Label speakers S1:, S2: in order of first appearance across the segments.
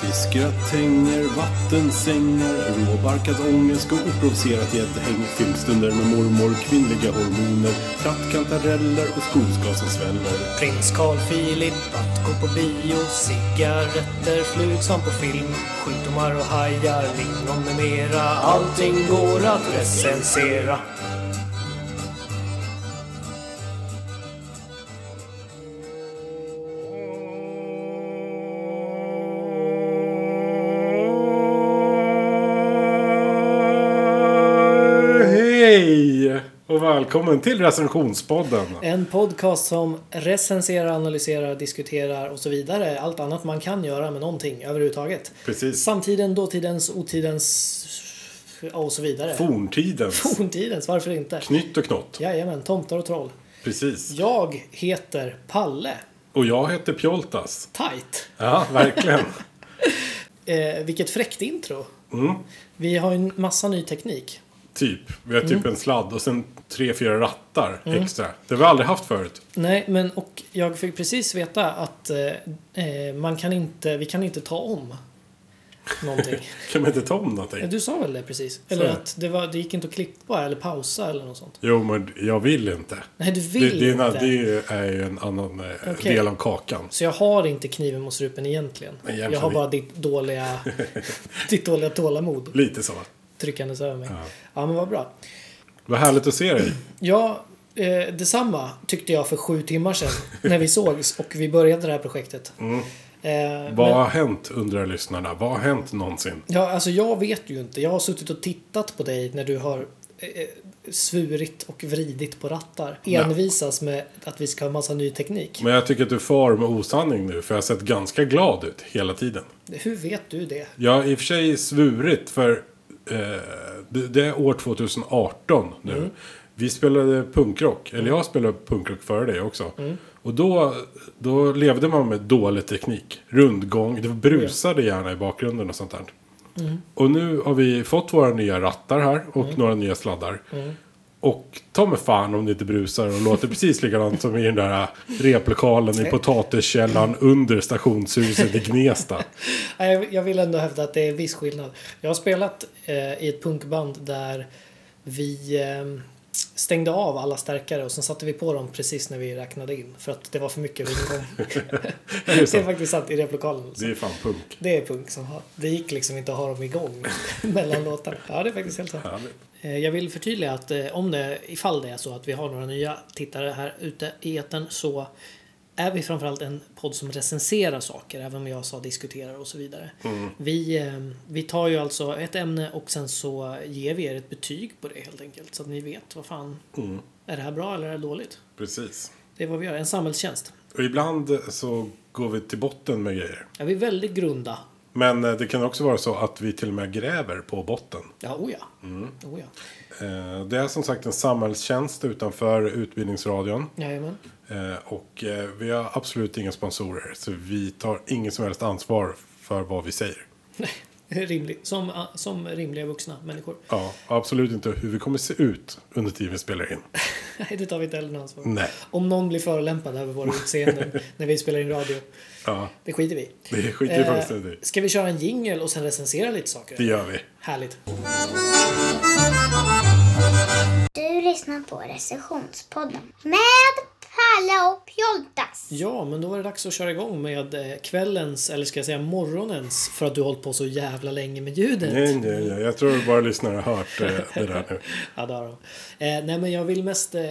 S1: Fiskgröt, tänger, vattensängar, råbarkad ångest och oprovocerat gäddhäng. Filmstunder med mormor, kvinnliga hormoner, trattkantareller och skogsglas som sväller.
S2: Prins Carl Philip att gå på bio, cigaretter, flug som på film, sjukdomar och hajar, lingon med mera. Allting går att recensera.
S1: Hej! Och välkommen till recensionspodden.
S2: En podcast som recenserar, analyserar, diskuterar och så vidare. Allt annat man kan göra med någonting överhuvudtaget.
S1: Precis.
S2: Samtiden, dåtidens, otidens ja, och så vidare.
S1: Forntidens.
S2: Forntidens, varför inte?
S1: Knytt och knott.
S2: Jajamän, tomtar och troll.
S1: Precis.
S2: Jag heter Palle.
S1: Och jag heter Pjoltas.
S2: Tight.
S1: Ja, verkligen.
S2: Eh, vilket fräckt intro.
S1: Mm.
S2: Vi har ju en massa ny teknik.
S1: Typ. Vi har typ en sladd och sen tre, fyra rattar extra. Det har vi aldrig haft förut.
S2: Nej, men och jag fick precis veta att eh, eh, man kan inte, vi kan inte ta om någonting.
S1: Kan man inte ta om någonting?
S2: Du sa väl det precis? Eller
S1: är det.
S2: att det, var, det gick inte att klippa eller pausa eller något sånt?
S1: Jo, men jag vill inte.
S2: Nej, du
S1: Det,
S2: vill
S1: det, är, en-
S2: inte.
S1: det är ju- är ju en annan eh,
S2: Okej.
S1: del av kakan.
S2: Så jag har inte kniven mot strupen egentligen.
S1: Nej, egentligen
S2: jag har
S1: inte.
S2: bara ditt dåliga, ditt dåliga tålamod
S1: Lite så.
S2: tryckandes över mig. Ja, men vad bra.
S1: Vad härligt att se dig.
S2: Ja, eh, detsamma tyckte jag för sju timmar sedan när vi sågs och vi började det här projektet. Eh,
S1: Vad
S2: men,
S1: har hänt, undrar lyssnarna. Vad har hänt någonsin?
S2: ja, alltså jag vet ju inte. Jag har suttit och tittat på dig när du har eh, svurit och vridit på rattar. Envisas med att vi ska ha massa ny teknik.
S1: Men jag tycker att du far med osanning nu, för jag har sett ganska glad ut hela tiden.
S2: Hur vet du det?
S1: Jag har i och för sig svurit för eh, det, det är år 2018 nu. Vi spelade punkrock, eller jag spelade punkrock före dig också. Och då, då levde man med dålig teknik. Rundgång, det brusade gärna i bakgrunden och sånt där. Och nu har vi fått våra nya rattar här och några nya sladdar. Och ta mig fan om det inte brusar och låter precis likadant som i den där replokalen i potatiskällaren under stationshuset i Gnesta.
S2: Nej, jag- Jag vill ändå hävda att det är en viss skillnad. Jag har spelat eh, i ett punkband där vi eh, stängde av alla stärkare och sen satte vi på dem precis när vi räknade in. För att det var för mycket rundgång.
S1: Det är
S2: det är
S1: sant.
S2: faktiskt sant i replokalen.
S1: Det är fan punk.
S2: Det är punk som har. Det gick liksom inte att ha dem igång mellan låtarna. Ja, det är faktiskt helt sant.
S1: Härligt.
S2: Eh, Jag vill förtydliga att eh, om det, ifall det är så att vi har några nya tittare här ute i etern så är vi framförallt en podd som recenserar saker, även om jag sa diskuterar och så vidare.
S1: Mm.
S2: Vi, eh, vi tar ju alltså ett ämne och sen så ger vi er ett betyg på det helt enkelt. Så att ni vet vad fan,
S1: Mm.
S2: är det här bra eller är det dåligt?
S1: Precis.
S2: Det är vad vi gör, en samhällstjänst.
S1: Och ibland så går vi till botten med grejer.
S2: Ja, vi är väldigt grunda.
S1: Men eh, det kan också vara så att vi till och med gräver på botten.
S2: Ja, oh ja.
S1: Mm.
S2: Oh ja.
S1: Eh, Det är som sagt en samhällstjänst utanför Utbildningsradion.
S2: Jajamän.
S1: Eh, Och eh, vi har absolut inga sponsorer. Så vi tar inget som helst ansvar för vad vi säger.
S2: Rimlig, som, ah, som rimliga vuxna människor.
S1: Ja, och absolut inte hur vi kommer se ut under tiden vi spelar in.
S2: Nej, det tar vi inte heller något ansvar
S1: Nej.
S2: Om någon blir förolämpad över våra utseenden när vi spelar in radio,
S1: Ja,
S2: det skiter vi i. Eh,
S1: det skiter vi fullständigt i.
S2: ska vi köra en jingle och sen recensera lite saker?
S1: Det gör vi.
S2: Härligt.
S3: Du lyssnar på recensionspodden med Palle och Pjoltas.
S2: Ja, men då var det dags att köra igång med eh, kvällens, eller ska jag säga morgonens, för att du har hållit på så jävla länge med ljudet.
S1: Nej, nej, nej. Jag tror bara lyssnare har hört eh, det där nu.
S2: Ja, det har de. Eh, nej, men jag vill mest eh,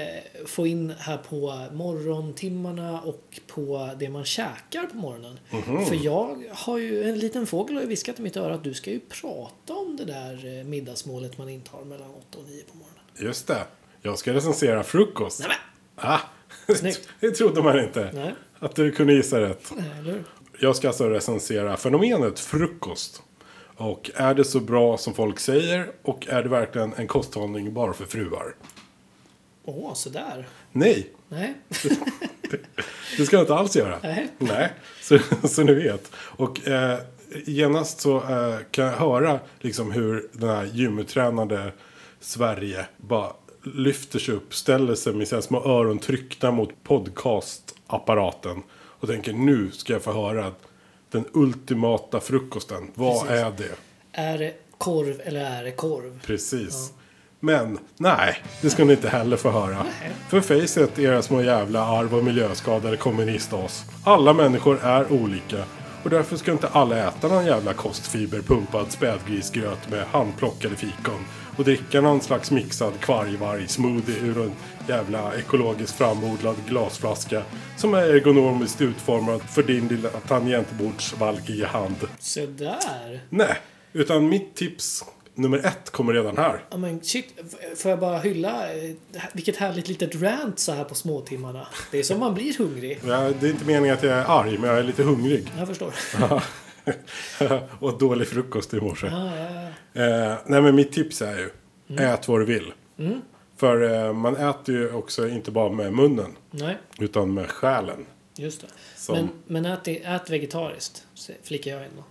S2: få in här på morgontimmarna och på det man käkar på morgonen. För jag har ju, en liten fågel har ju viskat i mitt öra att du ska ju prata om det där eh, middagsmålet man intar mellan 8 och 9 på morgonen.
S1: Just det. Jag ska recensera frukost.
S2: Nej, men!
S1: Ah,
S2: Snyggt.
S1: det trodde man inte.
S2: Nej.
S1: Att du kunde gissa rätt.
S2: Nej, eller hur?
S1: Jag ska alltså recensera fenomenet frukost. Och är det så bra som folk säger? Och är det verkligen en kosthållning bara för fruar?
S2: Åh, sådär.
S1: Nej,
S2: Nej.
S1: det ska jag inte alls göra.
S2: Nej.
S1: Nej, så, så ni vet. Och eh, genast så eh, kan jag höra liksom hur den här gymtränade Sverige bara lyfter sig upp, ställer sig med sina små öron tryckta mot podcastapparaten och tänker nu ska jag få höra den ultimata frukosten. Vad
S2: Precis.
S1: är det?
S2: Är det korv eller är det korv?
S1: Precis. Men nej, det ska ni inte heller få höra. För Facet, era små jävla arv och miljöskadade kommunistas. Alla människor är olika. Och därför ska inte alla äta någon jävla kostfiberpumpad spädgrisgröt med handplockade fikon. Och dricka någon slags mixad kvargvarg-smoothie ur en jävla ekologiskt framodlad glasflaska. Som är ergonomiskt utformad för din lilla tangentbordsvalkiga hand.
S2: Sådär.
S1: Nej, utan mitt tips nummer ett kommer redan här.
S2: Ja men shit, f- får jag bara hylla eh, det här- vilket härligt litet rant så här på småtimmarna. Det är som man blir hungrig.
S1: Ja, Det är inte meningen att jag är arg, men jag är lite hungrig.
S2: Jag förstår.
S1: och åt dålig frukost i morse.
S2: Ja, ja, ja. Mm.
S1: Eh, nej, men mitt tips är ju, ät vad du vill. För eh, man äter ju också inte bara med munnen,
S2: Nej,
S1: utan med själen.
S2: just det.
S1: Som-
S2: Men, men ät, i- ät vegetariskt, se- flickar jag in då.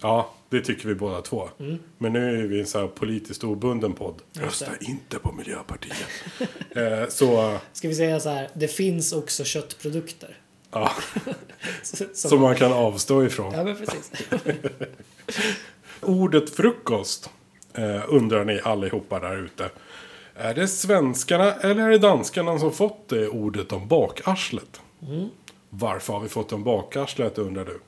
S1: Ja, det tycker vi båda två.
S2: Mm.
S1: Men nu är vi en så här politiskt obunden podd. Rösta inte på Miljöpartiet. eh, så,
S2: Ska vi säga så här, det finns också köttprodukter.
S1: ja,
S2: Så-
S1: som man kan avstå ifrån.
S2: Ja men precis.
S1: Ordet frukost eh, undrar ni allihopa där ute. Är det svenskarna eller är det danskarna som fått det ordet om bakarslet? Varför har vi fått om bakarslet undrar du?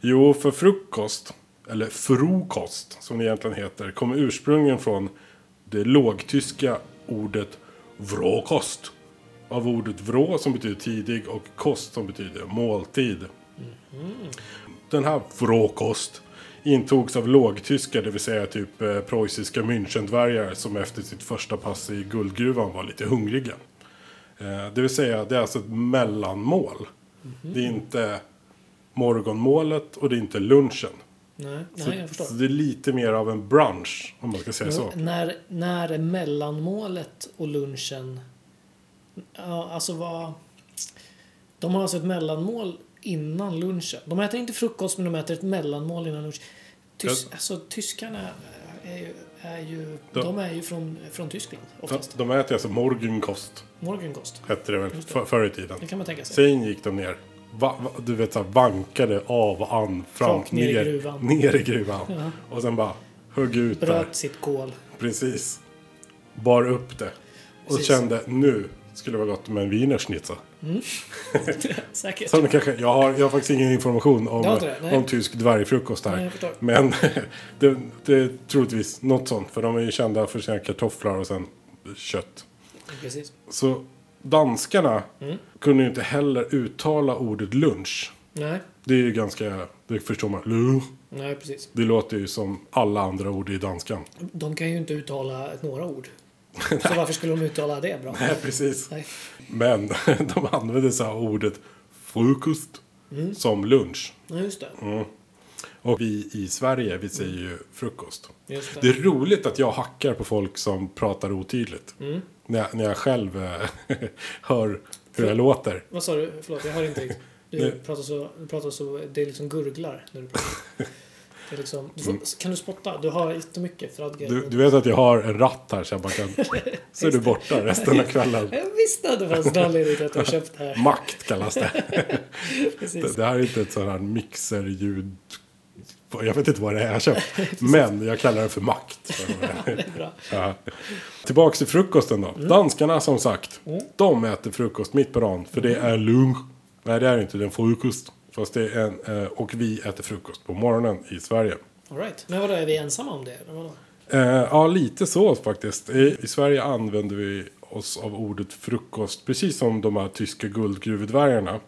S1: Jo, för frukost, eller frukost som det egentligen heter, kommer ursprungligen från det lågtyska ordet vråkost. Av ordet vrå som betyder tidig och kost som betyder måltid. Den här Frokost intogs av lågtyskar, det vill säga typ eh, preussiska Münchendvärjar som efter sitt första pass i guldgruvan var lite hungriga. Eh, det vill säga, det är alltså ett mellanmål.
S2: Mhm.
S1: Det är inte morgonmålet och det är inte lunchen.
S2: Nej, nej jag förstår.
S1: Så det är lite mer av en brunch, om man ska säga så.
S2: När, när är mellanmålet och lunchen... Ja, alltså vad... De har alltså ett mellanmål innan lunchen. De äter inte frukost, men de äter ett mellanmål innan lunch. Tys, Alltså tyskarna är ju... Är ju
S1: De-
S2: de, är ju från, från Tyskland,
S1: De,
S2: oftast.
S1: de äter alltså morgonkost,
S2: Morgonkost.
S1: hette det väl för, förr i tiden.
S2: Det kan man tänka sig.
S1: Sen gick de ner. Va, va, du vet såhär vankade av, an, fram,
S2: Rakt ner i gruvan.
S1: Ner i gruvan. Och sen bara högg ut där.
S2: Bröt sitt kol.
S1: Precis. Bar upp det. Och
S2: Precis.
S1: kände nu skulle det vara gott med en wienerschnitzel.
S2: Säkert.
S1: Som det kanske, jag, har, jag har faktiskt ingen information
S2: Jag har
S1: om,
S2: inte det, nej.
S1: om tysk dvärgfrukost här.
S2: Nej, jag förstår.
S1: Men det, det är troligtvis något sånt. För de är ju kända för sina kartofflar och sen kött.
S2: Precis.
S1: Så danskarna
S2: Mm.
S1: kunde ju inte heller uttala ordet lunch.
S2: Nej.
S1: Det är ju ganska, det förstår man. Lunch.
S2: Nej, precis.
S1: Det låter ju som alla andra ord i danskan.
S2: De kan ju inte uttala några ord. Så varför skulle de uttala det bra?
S1: Nej, precis.
S2: Nej.
S1: Men de använder så här ordet frukost som lunch.
S2: Nej, just det.
S1: Mm. Och vi i Sverige, vi säger ju frukost.
S2: Just det.
S1: Det är roligt att jag hackar på folk som pratar otydligt. När, jag, när jag själv eh, hör hur jag låter.
S2: Vad sa du? Förlåt, jag hör inte riktigt.
S1: Nej.
S2: Du pratar så, du pratar så, det är liksom gurglar när du pratar. Det är liksom, du får, Kan du spotta? Du har jättemycket fradgar.
S1: Mm. Du, du vet att jag har en ratt här så jag bara kan... Så är du borta resten av kvällen.
S2: Jag visste att det fanns en anledning till att jag köpt det här.
S1: Makt kallas det. Det,
S2: Precis.
S1: det här är inte ett sånt här mixerljud. Jag vet inte vad det är jag köpt. Men jag kallar det för makt.
S2: Det är bra. Mm.
S1: Ja. Tillbaks till frukosten då. Danskarna som sagt. De äter frukost mitt på dagen. För det
S2: Mm.
S1: är lunch. Nej det är inte. Det är en frukost. Fast det är en, eh, och vi äter frukost på morgonen i Sverige.
S2: All right. Men vadå, är vi ensamma om det? eller vadå?
S1: Eh, ja, lite så faktiskt. I, I Sverige använder vi oss av ordet frukost precis som de här tyska guldgruvdvärgarna.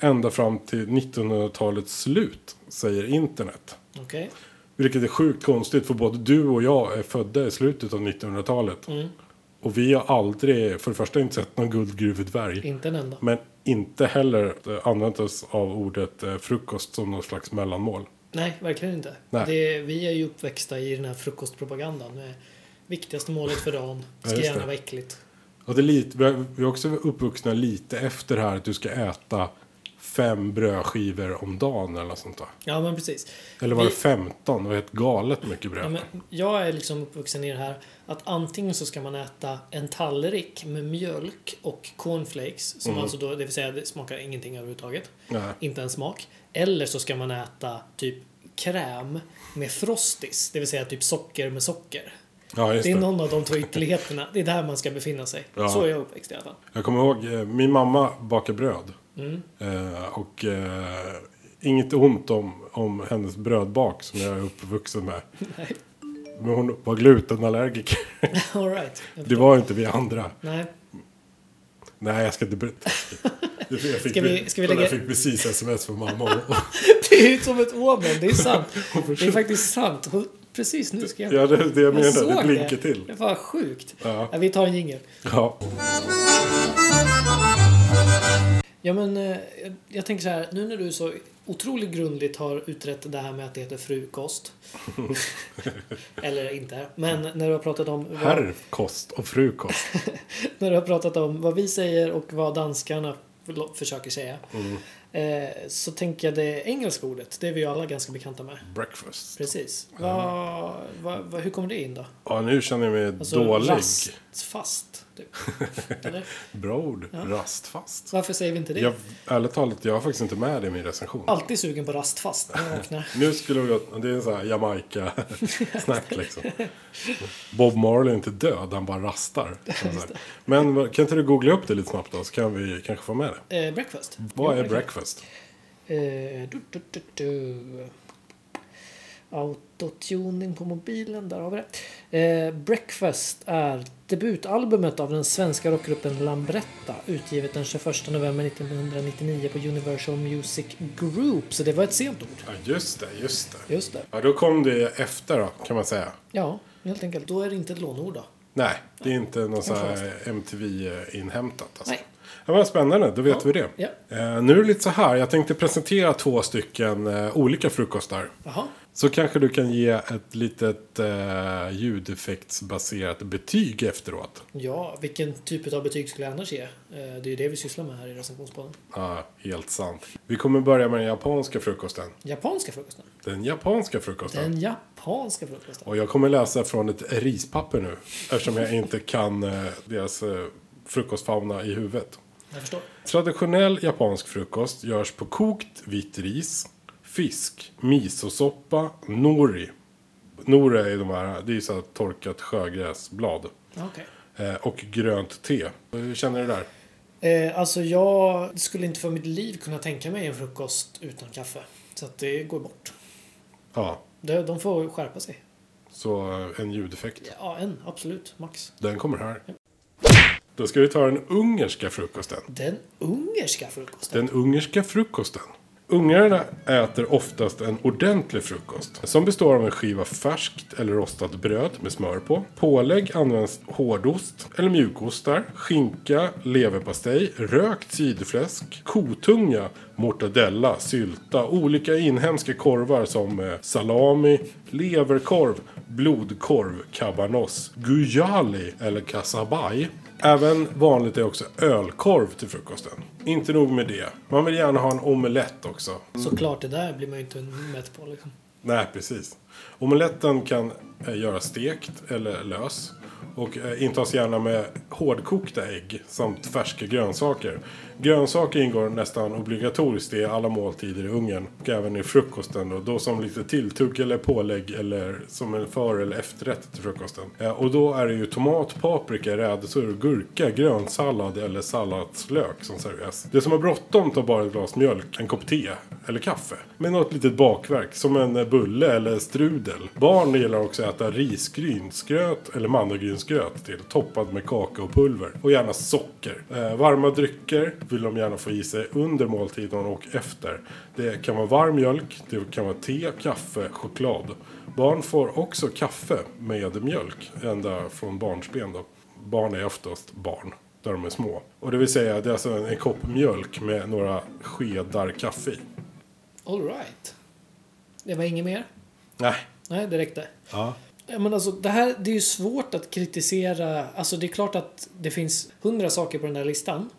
S1: Ända fram till 1900-talets slut, säger internet.
S2: Okej.
S1: Vilket är sjukt konstigt för både du och jag är födda i slutet av 1900-talet. Och vi har aldrig, för det första, inte sett någon guldgruvdvärg.
S2: Inte en enda.
S1: Men inte heller eh, använt oss av ordet eh, frukost som någon slags mellanmål.
S2: Nej, verkligen inte.
S1: Nej.
S2: Det, vi är ju uppväxta i den här frukostpropagandan. Med viktigaste målet för dagen ska
S1: just det.
S2: gärna vara äckligt.
S1: Och det är lite, vi har- vi är också uppvuxna lite efter det här att du ska äta fem brödskivor om dagen eller något sånt där.
S2: Ja, men precis.
S1: Eller var det
S2: Vi-
S1: 15? Det var helt galet mycket bröd.
S2: Ja, men jag är liksom uppvuxen i det här att antingen så ska man äta en tallrik med mjölk och cornflakes, som alltså då, det vill säga det smakar ingenting överhuvudtaget.
S1: Mm. Nej.
S2: Inte en smak. Eller så ska man äta typ kräm med frostis, det vill säga typ socker med socker.
S1: Ja, just
S2: Det
S1: det.
S2: är någon av de två ytterligheterna. Det är där man ska befinna sig.
S1: Ja.
S2: Så är jag uppväxt i alla fall.
S1: Jag kommer ihåg, eh, min mamma bakar bröd.
S2: Mm.
S1: Eh, och eh, inget ont om, om hennes brödbak som jag är uppvuxen med.
S2: Nej.
S1: Men hon var glutenallergiker.
S2: All right.
S1: Det var inte vi andra.
S2: Nej.
S1: Nej, jag ska inte berätta. Jag fick,
S2: Ska vi- ska vi
S1: kolla,
S2: lägga-
S1: jag fick precis sms från mamma. Och,
S2: Det är ju som ett omen, det är sant.
S1: och
S2: Det är faktiskt sant. Hon- Precis nu ska jag...
S1: ja, det är det jag
S2: jag
S1: menar. Det
S2: såg
S1: blinkar
S2: Det
S1: till.
S2: var sjukt.
S1: Ja.
S2: vi tar en jingel.
S1: Ja.
S2: Ja men eh, jag- jag tänker så här, nu när du så otroligt grundligt har utrett det här med att det heter frukost. Eller inte. Men när du har pratat om vad,
S1: Herrkost och frukost.
S2: när du har pratat om vad vi säger och vad danskarna förlo- försöker säga.
S1: Mm.
S2: Eh, så tänker jag det engelska ordet, det är vi ju alla ganska bekanta med.
S1: Breakfast.
S2: Precis. Vad- vad- vad- hur kommer det in då?
S1: Ja, nu känner jag mig
S2: Alltså,
S1: dålig.
S2: Rastfast, typ. Eller?
S1: Bra ord. Rastfast.
S2: Varför säger vi inte det?
S1: Jag, ärligt talat, jag har faktiskt inte med det i min recension.
S2: Alltid sugen på rastfast när jag vaknar.
S1: Nu skulle vi gå... Det är en sån här Jamaica-snack liksom. Bob Marley är inte död, han bara rastar. Men vad- kan inte du googla upp det lite snabbt då, så kan vi kanske få med det.
S2: Eh, breakfast.
S1: Vad
S2: Jo,
S1: är breakfast?
S2: Eh, du, du, du, du. Autotuning på mobilen, där har vi det. Eh, breakfast är debutalbumet av den svenska rockgruppen Lambretta utgivet den 21 november 1999 på Universal Music Group. Så det var ett sent ord.
S1: Ja, just det, just det.
S2: Just det.
S1: Ja, då kom det efter då, kan man säga.
S2: Ja, helt enkelt. Då är det inte ett lånord då.
S1: Nej, det är inte någon sån här MTV-inhämtat. Alltså.
S2: Nej.
S1: Ja, vad spännande, då vet vi det.
S2: Ja.
S1: Eh, nu är det lite så här, jag tänkte presentera två stycken eh, olika frukostar.
S2: Jaha.
S1: Så kanske du kan ge ett litet eh, ljudeffektsbaserat betyg efteråt.
S2: Ja, vilken typ av betyg skulle jag annars ge? Eh, det är ju det vi sysslar med här i recensionspodden.
S1: Ja, helt sant. Vi kommer börja med den japanska frukosten.
S2: Japanska frukosten.
S1: Den japanska frukosten.
S2: Den japanska frukosten.
S1: Och jag kommer läsa från ett rispapper nu. Eftersom jag inte kan eh, deras eh, frukostfauna i huvudet.
S2: Jag förstår.
S1: Traditionell japansk frukost görs på kokt vitt ris, fisk, misosoppa, nori. Nori är de här, det är så här torkat sjögräsblad.
S2: Okej.
S1: Eh, Och grönt te. Eh, Hur känner du där?
S2: Eh, alltså jag skulle inte för mitt liv kunna tänka mig en frukost utan kaffe. Så att det går bort.
S1: Ja,
S2: De, de får skärpa sig.
S1: så eh, en ljudeffekt.
S2: Ja, en. Absolut. Max.
S1: Den kommer här. Då ska vi ta den ungerska frukosten.
S2: Den ungerska frukosten.
S1: Den ungerska frukosten. Ungrarna äter oftast en ordentlig frukost som består av en skiva färskt eller rostat bröd med smör på. Pålägg används hårdost eller mjukostar, skinka, leverpastej, rökt sidfläsk, kotunga, mortadella, sylta, olika inhemska korvar som eh, salami, leverkorv, blodkorv, cabanos, gujali eller kasabaj. Även vanligt är också ölkorv till frukosten. Inte nog med det. Man vill gärna ha en omelett också.
S2: Såklart, det där blir man ju inte mätt på liksom.
S1: Nej, precis. Omeletten kan eh, göras stekt eller lös. Och eh, intas gärna med hårdkokta ägg samt färska grönsaker. Grönsaker ingår nästan obligatoriskt i alla måltider i Ungern. Och även i frukosten då. Då som lite tilltugg eller pålägg eller som en för eller efterrätt till frukosten. Eh, och då är det ju tomat, paprika, rädisor, gurka, grönsallad eller salladslök som serveras. Det som har bråttom tar bara ett glas mjölk, en kopp te eller kaffe. Med något litet bakverk som en eh, bulle eller strudel. Barn gillar också att äta risgrynsgröt eller mandagrynsgröt till toppad med kakaopulver och gärna socker. Eh, varma drycker vill de gärna få i sig under måltiden och efter. Det kan vara varm mjölk, det kan vara te, kaffe, choklad. Barn får också kaffe med mjölk ända från barnsben då. Barn är oftast barn där de är små. Och det vill säga, det är alltså en, en kopp mjölk med några skedar kaffe i.
S2: All right. Det var inget mer?
S1: Nej.
S2: Nej, det räckte.
S1: Ja.
S2: Ja, men alltså, det här det är ju svårt att kritisera. Alltså, det är klart att det finns hundra saker på den där listan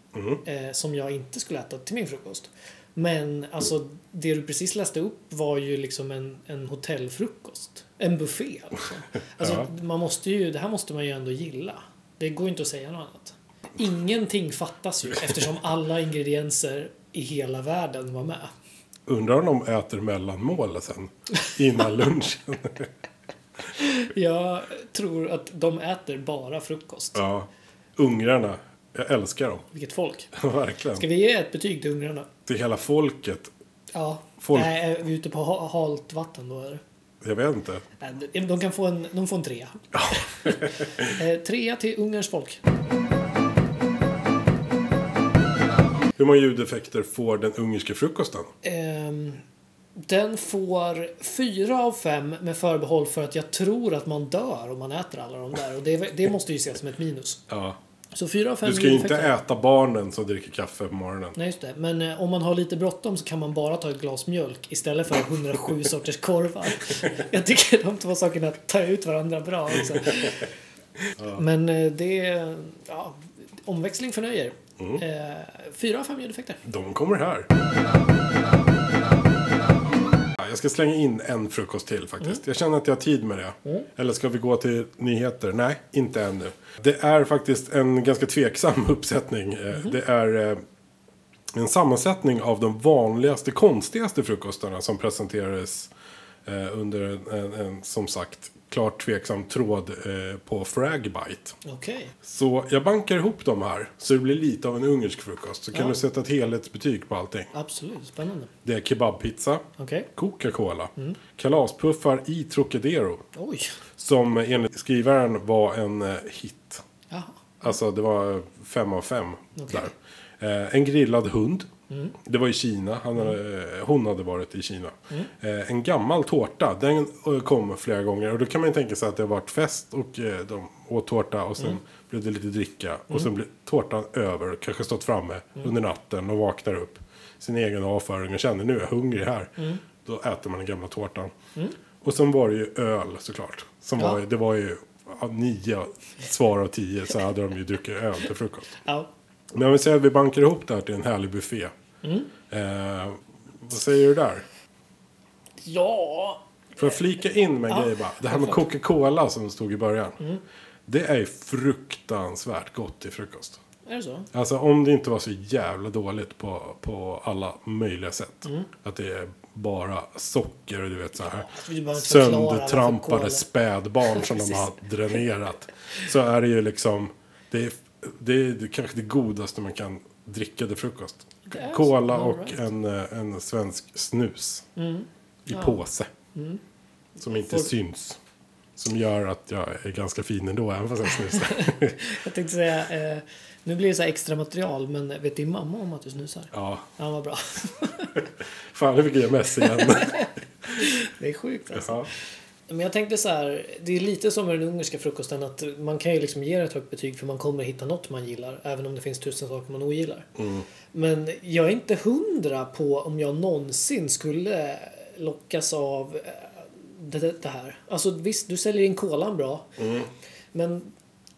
S2: eh, som jag inte skulle äta till min frukost. Men alltså, det du precis läste upp var ju liksom en, en hotellfrukost. En buffé alltså. alltså man måste ju, det här måste man ju ändå gilla. Det går ju inte att säga något annat. Ingenting fattas ju eftersom alla ingredienser i hela världen var med.
S1: Undrar om de äter mellanmål sen. Innan lunchen.
S2: Jag tror att de äter bara frukost.
S1: ja. Ungrarna. Jag älskar dem.
S2: Vilket folk.
S1: Verkligen.
S2: Ska vi ge ett betyg till ungrarna?
S1: Till hela folket.
S2: Ja.
S1: Folk-
S2: Nej, är vi ute på ha- halt vatten då eller?
S1: Jag vet inte.
S2: Nej, De kan få en, de får en trea. Eh, trea till Ungerns folk.
S1: Hur många ljudeffekter får den ungerska frukosten?
S2: Ehm, den får fyra av fem med förbehåll för att jag tror att man dör om man äter alla de där. Och det, det måste ju ses som ett minus.
S1: Ja.
S2: Så fyra av fem
S1: Du ska ju inte
S2: ljudeffekter.
S1: äta barnen som dricker kaffe på morgonen.
S2: Nej, just det. Men eh, om man har lite bråttom så kan man bara ta ett glas mjölk istället för 107 sorters korvar. Jag tycker de två sakerna tar ut varandra bra också. Men eh, det är... Ja, omväxling förnöjer. Eh, Fyra av fem ljudeffekter.
S1: De kommer här. Ja, Jag ska slänga in en frukost till faktiskt. Jag känner att jag har tid med det. Eller ska vi gå till nyheter? Nej, inte ännu. Det är faktiskt en ganska tveksam uppsättning. Eh, Det är eh, en sammansättning av de vanligaste, konstigaste frukostarna som presenterades eh, under en, en, en som sagt, klart tveksam tråd eh, på Fragbite.
S2: Okej.
S1: Så jag bankar ihop dem här så det blir lite av en ungersk frukost. Så kan
S2: Ja.
S1: du sätta ett helhetsbetyg på allting.
S2: Absolut. Spännande.
S1: Det är kebabpizza,
S2: Okej.
S1: Coca-Cola,
S2: Mm.
S1: kalaspuffar i Trocadero.
S2: Oj.
S1: Som enligt skrivaren var en eh, hit.
S2: Jaha.
S1: Alltså det var fem av fem
S2: Okej.
S1: där. Eh, en grillad hund. Det var i Kina. Han hade, eh, hon hade varit i Kina. Eh, en gammal tårta. Den eh, kom flera gånger. Och då kan man ju tänka sig att det har varit fest och eh, de åt tårta och sen blev det lite dricka. Och sen blev tårtan över. Kanske stått framme under natten och vaknar upp. Sin egen avföring och känner nu är jag hungrig här. Då äter man den gamla tårtan. Och sen var det ju öl såklart. Som
S2: Ja.
S1: var, ju- det var ju ja, nio svar av tio så hade de ju druckit öl till frukost.
S2: Ja.
S1: Men om vi säger att vi bankar ihop det här till en härlig buffé. Eh, vad säger du där?
S2: Ja.
S1: Får jag flika in med en
S2: Ja.
S1: grej bara? Det här med Coca-Cola som stod i början. Det är ju fruktansvärt gott till frukost.
S2: Är det så?
S1: Alltså om det inte var så jävla dåligt på, på alla möjliga sätt.
S2: Mm.
S1: Att det är bara socker och du vet så här.
S2: vi behöver inte förklara varför kola-
S1: Söndertrampade spädbarn som de har dränerat. Så är det ju liksom. Det är, det är det kanske det godaste man kan dricka till frukost.
S2: Det är så.
S1: Cola
S2: All
S1: och
S2: right.
S1: en, eh, en svensk snus. I påse. Som inte
S2: Mm. Får-
S1: syns. Som gör att jag är ganska fin ändå, även fast jag snusar.
S2: Jag tänkte säga, eh, nu blir det så här extra material, men vet din mamma om att du snusar?
S1: ja.
S2: Ja, vad bra.
S1: Fan, nu fick jag mess igen.
S2: Det är sjukt alltså.
S1: ja.
S2: Men jag tänkte så här, det är lite som med den ungerska frukosten att man kan ju liksom ge det ett högt betyg för man kommer hitta något man gillar, även om det finns tusen saker man ogillar. Men jag är inte hundra på om jag någonsin skulle lockas av eh, det, det det här. Alltså visst, du säljer in kolan bra. Men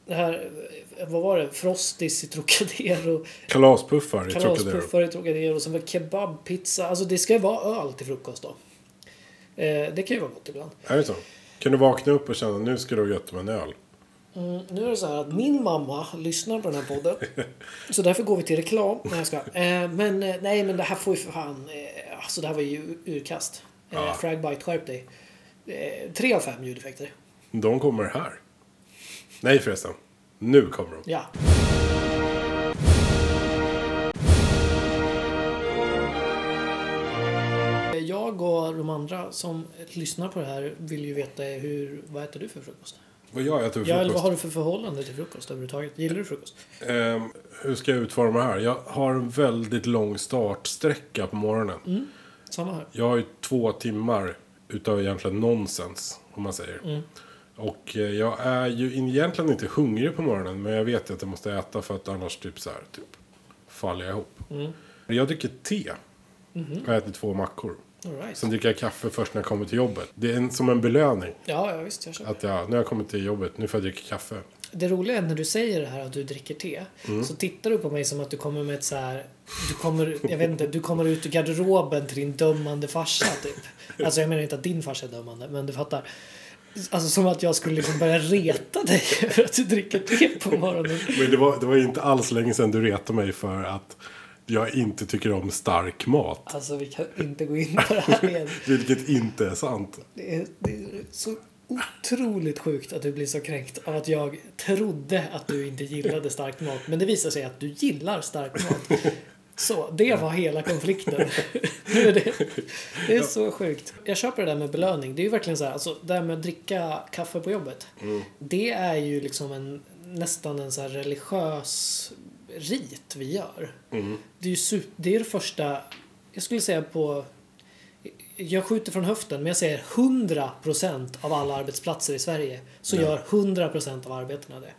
S2: det här, eh, vad var det? Frostis i Trocadero.
S1: Kalaspuffar i Trocadero.
S2: Kalaspuffar i Trocadero, sen var det kebabpizza. Alltså det ska ju vara öl till frukost då. Eh, det kan ju vara gott ibland.
S1: Är det så? Kan du vakna upp och känna nu ska du ha gött med en öl?
S2: Mm, nu är det så här att min mamma lyssnar på den här podden. så därför går vi till reklam. Nej, jag ska. Eh, men eh, nej, men det här får ju för fan... Eh, alltså det här var ju ur- urkast. Eh,
S1: Ja.
S2: Fragbite, skärp dig. Eh, tre av fem ljudeffekter.
S1: De kommer här. Nej förresten. Nu kommer de.
S2: Ja. Eh, Jag och de andra som lyssnar på det här vill ju veta hur, vad äter du för frukost?
S1: Vad gör jag till
S2: Ja, eller vad
S1: frukost?
S2: har du för förhållande till frukost överhuvudtaget? Gillar du frukost?
S1: Ehm, hur ska jag utforma det här? Jag har en väldigt lång startsträcka på morgonen.
S2: Mm. Samma här.
S1: Jag har ju två timmar utav egentligen nonsens, om man säger.
S2: Mm.
S1: Och eh, jag är ju egentligen inte hungrig på morgonen, men jag vet ju att jag måste äta för att annars typ så här, typ, faller jag ihop.
S2: Mm.
S1: Jag dricker te.
S2: Mm-hmm.
S1: Och äter två mackor.
S2: All right.
S1: Sen dricker jag kaffe först när jag kommer till jobbet. Det är en, som en belöning.
S2: Ja, ja visst. Jag köper.
S1: Att jag, nu har jag kommit till jobbet, nu får jag dricka kaffe.
S2: Det roliga är när du säger det här att du dricker te. Så tittar du på mig som att du kommer med ett så här. Du kommer, jag vet inte, du kommer ut ur garderoben till din dömande farsa typ. Alltså jag menar inte att din farsa är dömande, men du fattar. Alltså som att jag skulle liksom börja reta dig för att du dricker te på morgonen.
S1: Men det var, det var ju inte alls länge sedan du retade mig för att jag inte tycker om stark mat.
S2: Alltså vi kan inte gå in på det här igen.
S1: Vilket inte är sant.
S2: Det är, det är så otroligt sjukt att du blir så kränkt av att jag trodde att du inte gillade stark mat. Men det visar sig att du gillar stark mat. Så, det var hela konflikten. Nu är det, det är så sjukt. Jag köper det där med belöning. Det är ju verkligen så här, alltså det här med att dricka kaffe på jobbet. Det är ju liksom en, nästan en så här religiös rit vi gör. Det är ju super, det är det första, jag skulle säga på jag skjuter från höften men jag säger 100% av alla arbetsplatser i Sverige så gör 100% av arbetarna det.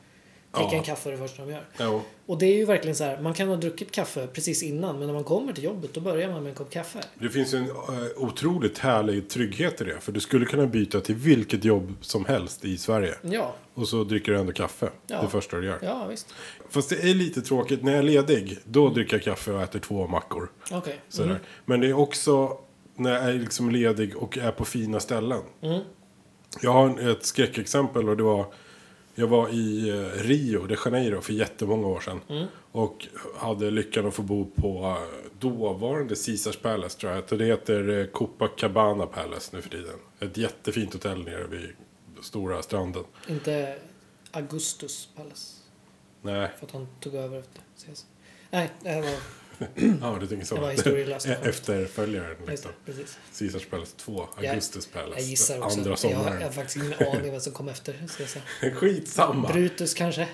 S2: Dricka
S1: Ja.
S2: en kaffe är det första de gör.
S1: Ja.
S2: Och det är ju verkligen så här, man kan ha druckit kaffe precis innan men när man kommer till jobbet då börjar man med en kopp kaffe.
S1: Det finns ju en eh, otroligt härlig trygghet i det. För du skulle kunna byta till vilket jobb som helst i Sverige.
S2: Ja,
S1: Och så dricker du ändå kaffe.
S2: Ja.
S1: Det första du gör.
S2: ja visst.
S1: Fast det är lite tråkigt. När jag är ledig, då dricker jag kaffe och äter två mackor.
S2: Okej.
S1: Sådär.
S2: Mm.
S1: Men det är också när jag är liksom ledig och är på fina ställen.
S2: Mm.
S1: Jag har en- ett skräckexempel och det var jag var i eh, Rio de Janeiro för jättemånga år sedan.
S2: Mm.
S1: Och hade lyckan att få bo på eh, dåvarande Caesars Palace tror jag. Det heter eh, Copacabana Palace nu för tiden. Ett jättefint hotell nere vid stora stranden.
S2: Inte Augustus Palace.
S1: Nej,
S2: För att han tog över efter Caesar. Nej, det här var...
S1: ja du tänker så.
S2: Det var historielöst.
S1: E- Efterföljaren
S2: just
S1: liksom.
S2: det, Precis.
S1: Caesars Palace 2,
S2: Jag-
S1: Augustus
S2: Jag
S1: Palace.
S2: gissar också.
S1: andra
S2: att jag, har-
S1: sommaren.
S2: jag har faktiskt ingen aning vem som kom efter Caesar.
S1: Skitsamma.
S2: Brutus kanske?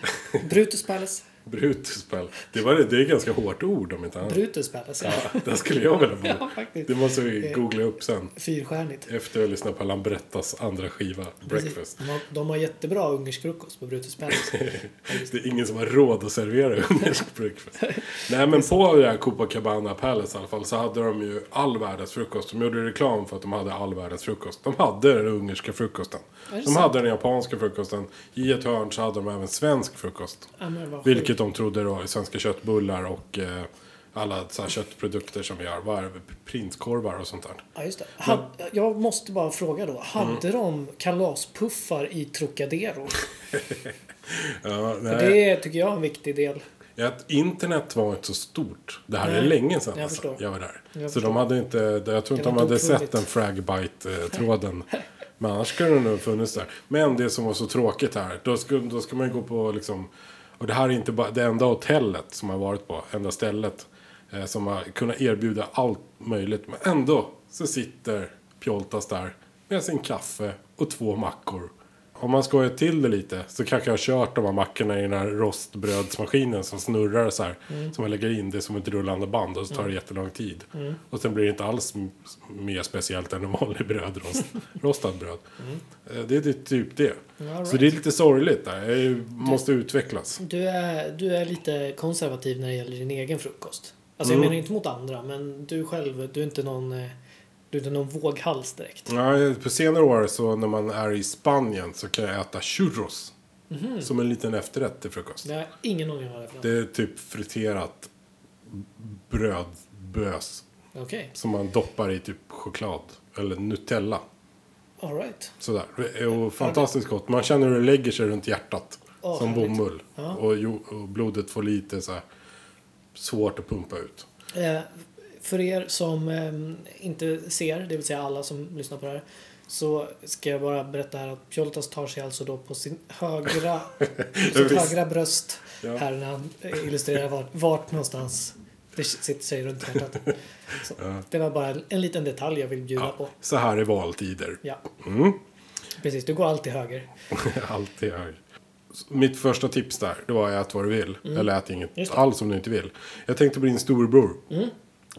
S2: Brutus Palace?
S1: Brutus Palace. Det, var det, det är ett ganska hårt ord om inte annat.
S2: Brutus Palace, ja.
S1: Där skulle jag vilja bo.
S2: Ja, faktiskt. Eh.
S1: Det måste vi googla upp sen.
S2: Fyrstjärnigt.
S1: Efter att jag lyssnat på Lambrettas andra skiva, Breakfast.
S2: De har, de har jättebra ungersk frukost på Brutus Palace.
S1: Det är ingen som har råd att servera ungersk breakfast. Nej men på det här Copacabana Palace i alla fall så hade de ju all världens frukost. De gjorde reklam för att de hade all världens frukost. De hade den ungerska frukosten.
S2: det
S1: De
S2: sant?
S1: hade den japanska frukosten. I ett hörn så hade de även svensk frukost.
S2: Ja, men vad sjukt.
S1: Vilket de trodde då, svenska köttbullar och eh, alla så här köttprodukter som vi har. Vad är det? Prinskorvar och sånt där.
S2: Ja, just det. Had, jag måste bara fråga då. Hade de kalaspuffar i Trocadero?
S1: Ja, nej.
S2: Det tycker jag är en viktig del.
S1: Att internet var inte så stort. Det här är
S2: Nej,
S1: länge sedan
S2: jag
S1: alltså.
S2: förstår.
S1: jag var där.
S2: Jag
S1: så
S2: förstår.
S1: de hade inte, jag tror inte de
S2: var
S1: hade
S2: inte
S1: sett
S2: otroligt.
S1: den fragbite-tråden. Men annars skulle den nog ha funnits där. Men det som var så tråkigt här, då ska, då ska man ju gå på liksom, och det här är inte bara det enda hotellet som jag varit på, enda stället eh, som har kunnat erbjuda allt möjligt. Men ändå så sitter Pjoltas där med sin kaffe och två mackor. Om man skojar till det lite så kanske jag har kört de här mackorna i den här rostbrödsmaskinen som snurrar så här. Som man lägger in det som ett rullande band och så tar det jättelång tid. Och sen blir det inte alls m- mer speciellt än en vanlig brödrost. rostad bröd. Eh, Det är det- typ det.
S2: Alright.
S1: Så det är lite sorgligt där. Jag är- måste utvecklas.
S2: Du är, du är lite konservativ när det gäller din egen frukost. Alltså jag menar inte mot andra, men du själv, du är inte någon, eh, du är inte någon våghals direkt.
S1: Nej, på senare år så när man är i Spanien så kan jag äta churros. Som en liten efterrätt till frukost.
S2: Jag har ingen aning om vad det är för något.
S1: Det är typ friterat brödbös.
S2: Okej,
S1: Som man doppar i typ choklad eller Nutella.
S2: alright.
S1: Sådär. Och fantastiskt gott. Man känner hur det lägger sig runt hjärtat.
S2: Åh,
S1: som
S2: härligt.
S1: bomull.
S2: Ja.
S1: Och, jo- och blodet får lite så här svårt att pumpa ut.
S2: Eh, för er som ehm, inte ser, det vill säga alla som lyssnar på det här, så ska jag bara berätta här att Pjoltas tar sig alltså då på sin högra, på sitt
S1: visst.
S2: högra bröst
S1: Ja.
S2: här när han eh, illustrerar vart, vart någonstans det sitter sig runt hjärtat. Så, Det var bara en, en liten detalj jag vill bjuda på.
S1: Så här i valtider.
S2: Ja.
S1: Mm.
S2: Precis, du går alltid höger.
S1: Alltid hög. Så Mitt första tips där, det var ät vad du vill. Eller ät inget
S2: Mm. Just Mm.
S1: alls om du inte vill. Jag tänkte på din storebror.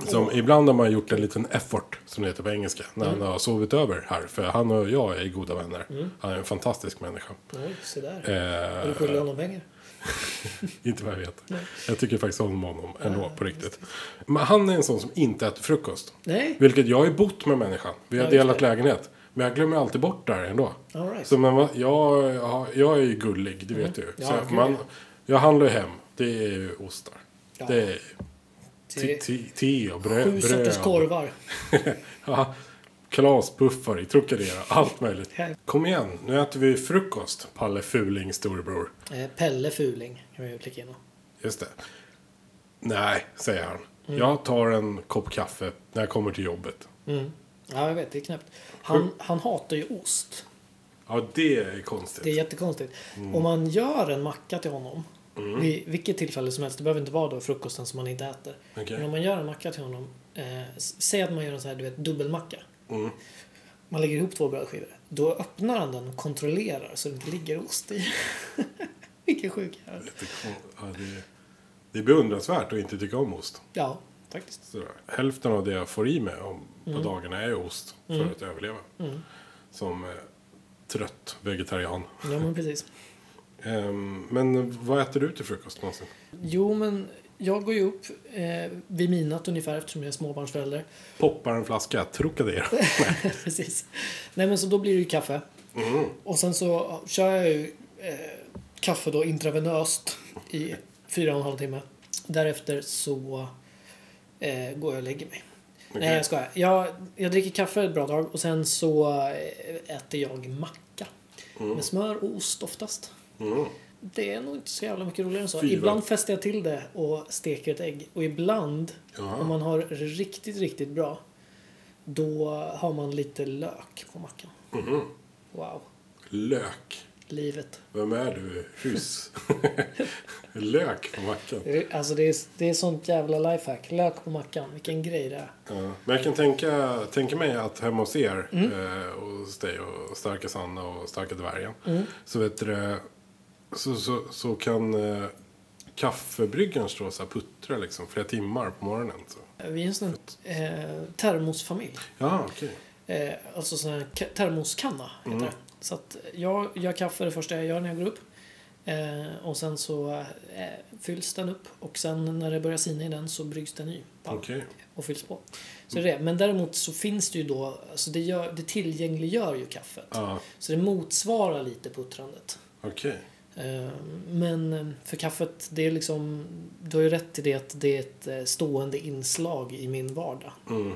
S1: Som ibland har man gjort en liten effort, som det heter på engelska, när
S2: Mm.
S1: han har sovit över här. För han och jag är goda vänner. Han är en fantastisk människa.
S2: Oj, se där.
S1: Eh,
S2: Är du skyldig honom pengar?
S1: Inte vad jag vet. Jag tycker faktiskt om honom ändå på riktigt. Men han är en sån som inte äter frukost.
S2: Nej?
S1: Vilket jag har ju bott med människan. Vi har
S2: Ja, just
S1: delat lägenhet. Men jag glömmer alltid bort det här ändå.
S2: All right.
S1: Så men, vad- jag, jag- jag är ju gullig, det vet du ju.
S2: Mm. Ja,
S1: Så
S2: gud,
S1: man,
S2: ja.
S1: jag handlar ju hem. Det är ju ostar.
S2: Ja.
S1: Det är te,
S2: Till
S1: te, te och brö-
S2: Sju
S1: bröd.
S2: sorters korvar.
S1: Ja, Kalaspuffar i Trocadero, allt möjligt.
S2: Här.
S1: Kom igen, nu äter vi frukost, Palle Fuling storebror.
S2: Eh, Pelle Fuling kan vi ju klicka in.
S1: Just det. Nej, säger han. Jag tar en kopp kaffe när jag kommer till jobbet.
S2: Ja, jag vet. Det är knäppt. Han, han hatar ju ost.
S1: Ja, det är konstigt.
S2: Det är jättekonstigt. Om man gör en macka till honom, vid vilket tillfälle som helst, det behöver inte vara då frukosten som man inte äter.
S1: Okej.
S2: Men om man gör en macka till honom, eh, s- säg att man gör en sån här, du vet, dubbelmacka. Man lägger ihop två brödskivor. Då öppnar han den och kontrollerar så det inte ligger ost i. Vilken sjuk jävel.
S1: Ja, det, är, det är beundransvärt att inte tycka om ost.
S2: Ja, faktiskt.
S1: Sådär. Hälften av det jag får i mig om, på dagarna är ju ost för att överleva. Som eh, trött vegetarian.
S2: Ja, men precis.
S1: Ehm, men vad äter du till frukost någonsin?
S2: Jo, men jag går ju upp eh, vid midnatt ungefär eftersom jag är småbarnsförälder.
S1: Poppar en flaska Trocadero.
S2: Precis. Nej men så då blir det ju kaffe. Och sen så kör jag ju eh, kaffe då intravenöst i fyra och en halv timme. Därefter så eh, går jag och lägger mig. Nej jag skojar. Jag, jag dricker kaffe ett bra tag och sen så eh, äter jag macka. Med smör och ost oftast. Det är nog inte så jävla mycket roligare än så.
S1: Fy, vad-
S2: Ibland fäster jag till det och steker ett ägg. Och ibland,
S1: Ja.
S2: om man har riktigt, riktigt bra, då har man lite lök på mackan. Wow,
S1: Lök.
S2: livet.
S1: Vem är du? Hyss. Lök på mackan.
S2: Det är- Alltså det är, det är sånt jävla lifehack. Lök på mackan, vilken grej det är.
S1: Ja. Men jag kan tänka, tänka mig att hemma hos er, eh, och hos dig och starka Sanna och starka dvärgen, så vet du det, så, så, så kan eh, kaffebryggaren stå och så här puttra liksom flera timmar på morgonen. Så.
S2: Vi är en sån eh, termosfamilj.
S1: Ja, Ah, okej.
S2: Eh, alltså sån här ka- termoskanna heter det. Så att jag gör kaffe det första jag gör när jag går upp. Eh, och sen så eh, fylls den upp och sen när det börjar sina i den så bryggs den ny. Bara.
S1: Okej.
S2: och fylls på. Så det är det. Men däremot så finns det ju då, alltså det, gör, det tillgängliggör ju kaffet.
S1: Ja,
S2: Så det motsvarar lite puttrandet.
S1: okej.
S2: Eh, Men eh, för kaffet, det är liksom, du har ju rätt till det att det är ett eh, stående inslag i min vardag.
S1: Mm.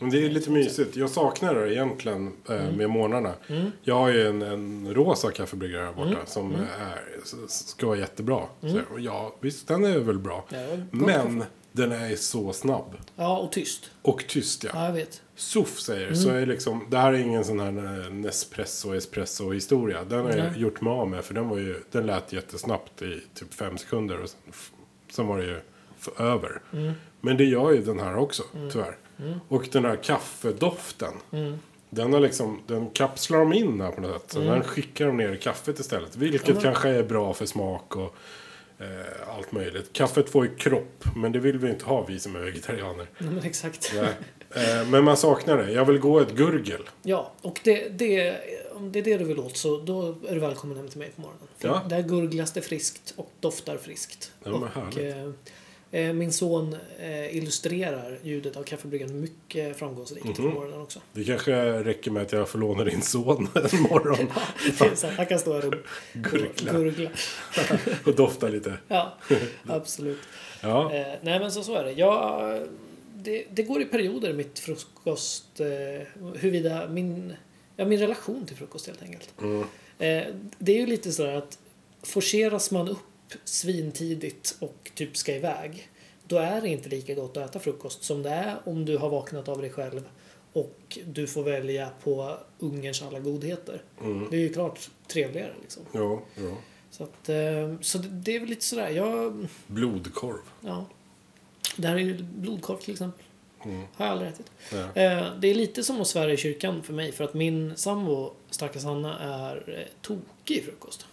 S1: Men det är lite mysigt. Jag saknar det egentligen eh, med morgnarna. Jag har ju en, en rosa kaffebryggare här borta som är, s- ska vara jättebra. Så, jag- ja, visst den är väl bra.
S2: Ja, gott
S1: Men den är så snabb.
S2: Ja, och tyst.
S1: Och tyst ja.
S2: Ja, Mm. jag vet.
S1: SOF säger, så är liksom, det här är ingen sån här eh, Nespresso espresso historia. Den har jag
S2: Nej.
S1: gjort mig av med för den var ju, den lät jättesnabbt i typ fem sekunder och sen, f- sen var det ju f- över.
S2: Mm.
S1: Men det gör ju den här också, tyvärr. Och den här kaffedoften.
S2: Mm.
S1: Den, har liksom, den kapslar de in här på något sätt. Så Den skickar de ner i kaffet istället. Vilket kanske är bra för smak och eh, allt möjligt. Kaffet får ju kropp, men det vill vi inte ha vi som är vegetarianer.
S2: Nej, men exakt.
S1: Nej. Eh, Men man saknar det. Jag vill gå ett gurgel.
S2: Ja, och det, det, om det är det du vill åt så då är du välkommen hem till mig på morgonen. För
S1: Ja.
S2: Där gurglas det friskt och doftar friskt.
S1: Ja, men
S2: och,
S1: härligt.
S2: eh, eh, min son eh, illustrerar ljudet av kaffebryggan mycket framgångsrikt
S1: Mhm.
S2: på morgonen också.
S1: Det kanske räcker med att jag får låna din son en morgon
S2: Det är så här, Han kan stå här och
S1: Gurgla.
S2: gurgla.
S1: och dofta lite.
S2: Ja, absolut.
S1: Ja,
S2: Eh, nej men så, så är det. Jag, det. Det går i perioder mitt frukost, eh, huruvida min, ja, min relation till frukost helt enkelt. Eh, det är ju lite sådär att forceras man upp svintidigt och typ ska iväg. Då är det inte lika gott att äta frukost som det är om du har vaknat av dig själv och du får välja på ungerns alla godheter. Det är ju klart trevligare liksom.
S1: ja, ja.
S2: Så, att, eh, så det, det är väl lite sådär. Jag,
S1: Blodkorv.
S2: Ja. Det här är ju blodkorv till exempel. Har jag aldrig ätit.
S1: Ja.
S2: Eh, det är lite som att svära i kyrkan för mig. För att min sambo, stackars Hanna, är eh, tokig i frukost.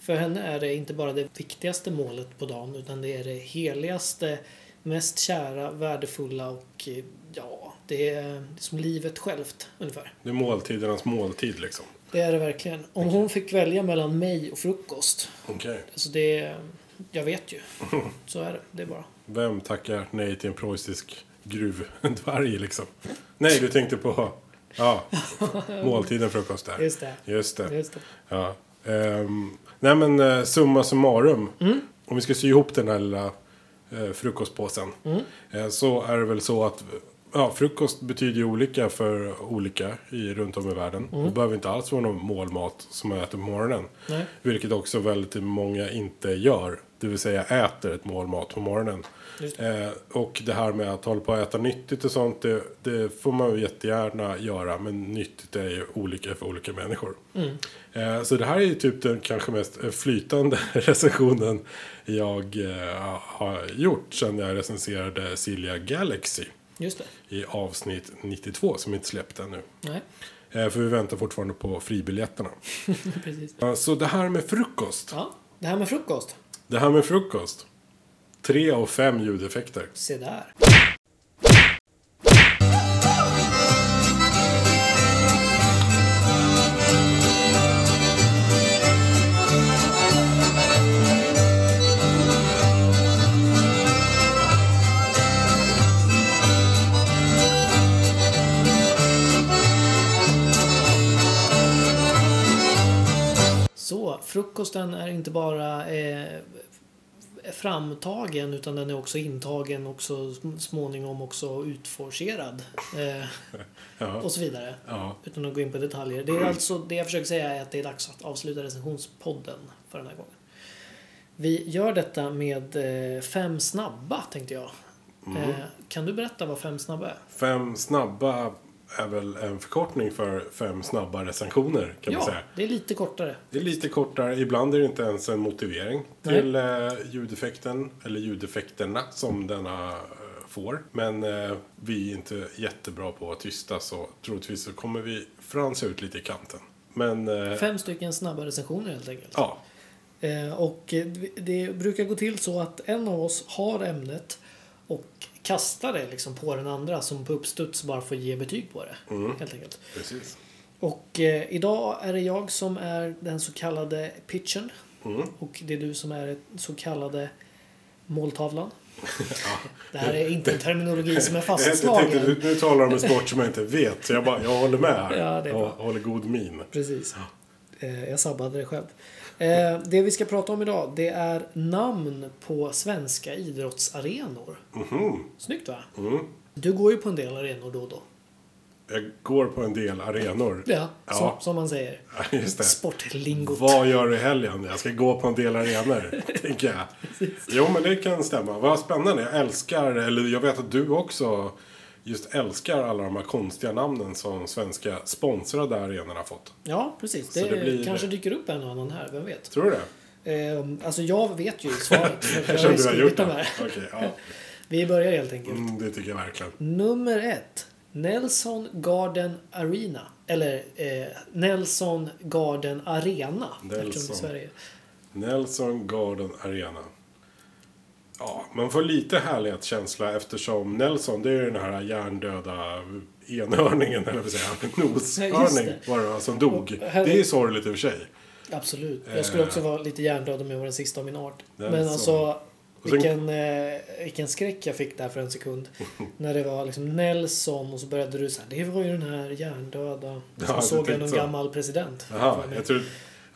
S2: För henne är det inte bara det viktigaste målet på dagen. Utan det är det heligaste, mest kära, värdefulla och eh, ja, det är som livet självt ungefär.
S1: Det är måltidernas måltid liksom.
S2: Det är det verkligen. Om hon fick välja mellan mig och frukost.
S1: Okej.
S2: Alltså det, jag vet ju. Så är det. Det är bara.
S1: Vem tackar nej till en preussisk gruvdvärg liksom? Nej, du tänkte på ja, måltiden frukost där.
S2: Just det.
S1: Just det.
S2: Just det.
S1: Ja. Ehm, nej men eh, summa summarum. Om vi ska sy ihop den här lilla eh, frukostpåsen. Eh, så är det väl så att ja, frukost betyder ju olika för olika i, runt om i världen. Det behöver inte alls vara någon målmat som man äter på morgonen.
S2: Nej.
S1: Vilket också väldigt många inte gör. det vill säga äter ett mål mat på morgonen.
S2: Just
S1: Eh, och det här med att hålla på att äta nyttigt och sånt, det, det får man ju jättegärna göra. Men nyttigt är ju olika för olika människor.
S2: Mm.
S1: Eh, så det här är ju typ den kanske mest eh, flytande recensionen jag eh, har gjort sen jag recenserade Silja Galaxy
S2: Just det.
S1: i avsnitt 92 som inte släppt ännu.
S2: Nej,
S1: Eh, för vi väntar fortfarande på fribiljetterna.
S2: precis.
S1: Eh, så det här med frukost.
S2: Ja, det här med frukost.
S1: Det här med frukost. Tre av fem ljudeffekter.
S2: Se där. Så, frukosten är inte bara eh, framtagen utan den är också intagen och så småningom också utforcerad. Eh,
S1: Ja.
S2: och så vidare.
S1: ja.
S2: Utan att gå in på detaljer. Det, är alltså, det jag försöker säga är att det är dags att avsluta recensionspodden för den här gången. Vi gör detta med eh, fem snabba tänkte jag. Eh, kan du berätta vad fem snabba är?
S1: Fem snabba är väl en förkortning för fem snabba recensioner kan
S2: ja,
S1: man säga.
S2: det är lite kortare.
S1: Det är lite kortare, ibland är det inte ens en motivering till eh, ljudeffekten, eller ljudeffekterna som denna eh, får. Men eh, vi är inte jättebra på att tysta så troligtvis så kommer vi fransa ut lite i kanten. Men eh,
S2: Fem stycken snabba recensioner helt enkelt.
S1: ja,
S2: Eh, Och eh, det brukar gå till så att en av oss har ämnet och kastar det liksom på den andra som på uppstuds bara får ge betyg på det.
S1: Mm.
S2: Helt enkelt.
S1: precis.
S2: Och eh, idag är det jag som är den så kallade pitchen.
S1: Mm.
S2: Och det är du som är den så kallade måltavlan. Det här är inte en terminologi som är
S1: Jag tänkte,
S2: fastslagen.
S1: nu, nu talar de om en sport som jag inte vet, så jag bara, jag håller med här.
S2: Ja, det är bra.
S1: jag håller god min.
S2: Precis. Eh, Jag sabbade det själv. Eh, Det vi ska prata om idag det är namn på svenska idrottsarenor.
S1: Mhm.
S2: Snyggt va? Du går ju på en del arenor då och då.
S1: Jag går på en del arenor.
S2: Ja,
S1: Ja.
S2: Som, som man säger.
S1: Just det.
S2: Sportlingot.
S1: Vad gör du i helgen? Jag ska gå på en del arenor, tänker jag. Jo, men det kan stämma. Vad spännande. Jag älskar, eller jag vet att du också just älskar alla de här konstiga namnen som svenska sponsrade arenorna har fått.
S2: Ja, precis.
S1: Så
S2: Det,
S1: det blir-
S2: kanske dyker upp en och annan här, vem vet?
S1: Tror du det?
S2: Eh, Alltså jag vet ju svaret. för jag har
S1: Eftersom
S2: ju
S1: du har
S2: skrivit
S1: gjort
S2: de
S1: det.
S2: här.
S1: Okej, ja.
S2: Vi börjar helt enkelt.
S1: Mm, det tycker jag verkligen.
S2: Nummer ett. Nelson Garden Arena. Eller eh, Nelson Garden Arena. eftersom det är
S1: Nelson.
S2: Sverige.
S1: Nelson Garden Arena. Ja, man får lite härlighetskänsla eftersom Nelson, det är ju den här hjärndöda enhörningen, eller vad säger jag,
S2: Ja, just
S1: noshörning
S2: det.
S1: var det va, som dog.
S2: Och här-
S1: Det är sorgligt i och för sig.
S2: Absolut.
S1: Eh.
S2: Jag skulle också vara lite hjärndöd om jag var den sista av min art.
S1: Den
S2: Men
S1: som-
S2: alltså,
S1: Och sen-
S2: vilken, eh, vilken skräck jag fick där för en sekund. när det var liksom Nelson och så började du så här, det var ju den här hjärndöda.
S1: Ja,
S2: Så
S1: du
S2: såg jag
S1: tänkte
S2: någon
S1: så.
S2: gammal president.
S1: Jaha,
S2: För mig.
S1: jag tror...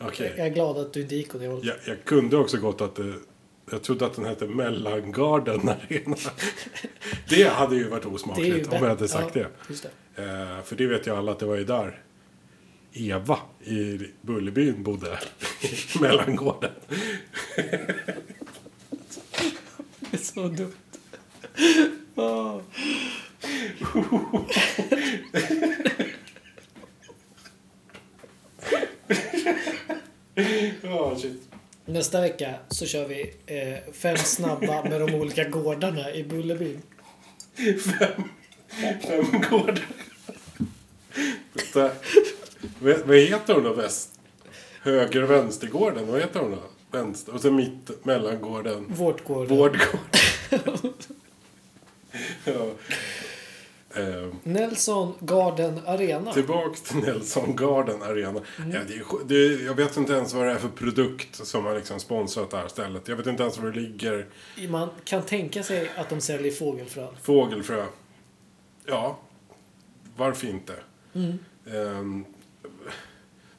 S1: Okej.
S2: jag är glad att du inte gick åt det hållet.
S1: Jag, jag kunde också gått att det, Jag trodde att den hette Mellangarden Arena. det hade ju varit
S2: Det är ju
S1: osmakligt om jag hade sagt
S2: ja,
S1: det.
S2: Just det.
S1: Eh, för det vet ju alla att det var ju där Eva i Bullerbyn bodde. I Mellangården.
S2: Det är så dumt. Åh.
S1: Ja, shit.
S2: Nästa vecka så kör vi eh, fem snabba med de olika gårdarna i Bullerbyn.
S1: Fem gårdar. Vänta. Vad- Vad heter hon då? Väst? Höger och vänstergården? Vad heter hon då? Vänster. Och så mitt, mellangården.
S2: Vårt gård.
S1: Vårdgården. ja. Ehm,
S2: Nelson Garden Arena.
S1: Tillbaks till Nelson Garden Arena. Ja, det är, sj- det är, jag vet inte ens vad det är för produkt som har liksom sponsrat det här stället. Jag vet inte ens var det ligger.
S2: Man kan tänka sig att de säljer fågelfrön.
S1: Fågelfrö. Ja. Varför inte?
S2: Mm.
S1: Ehm,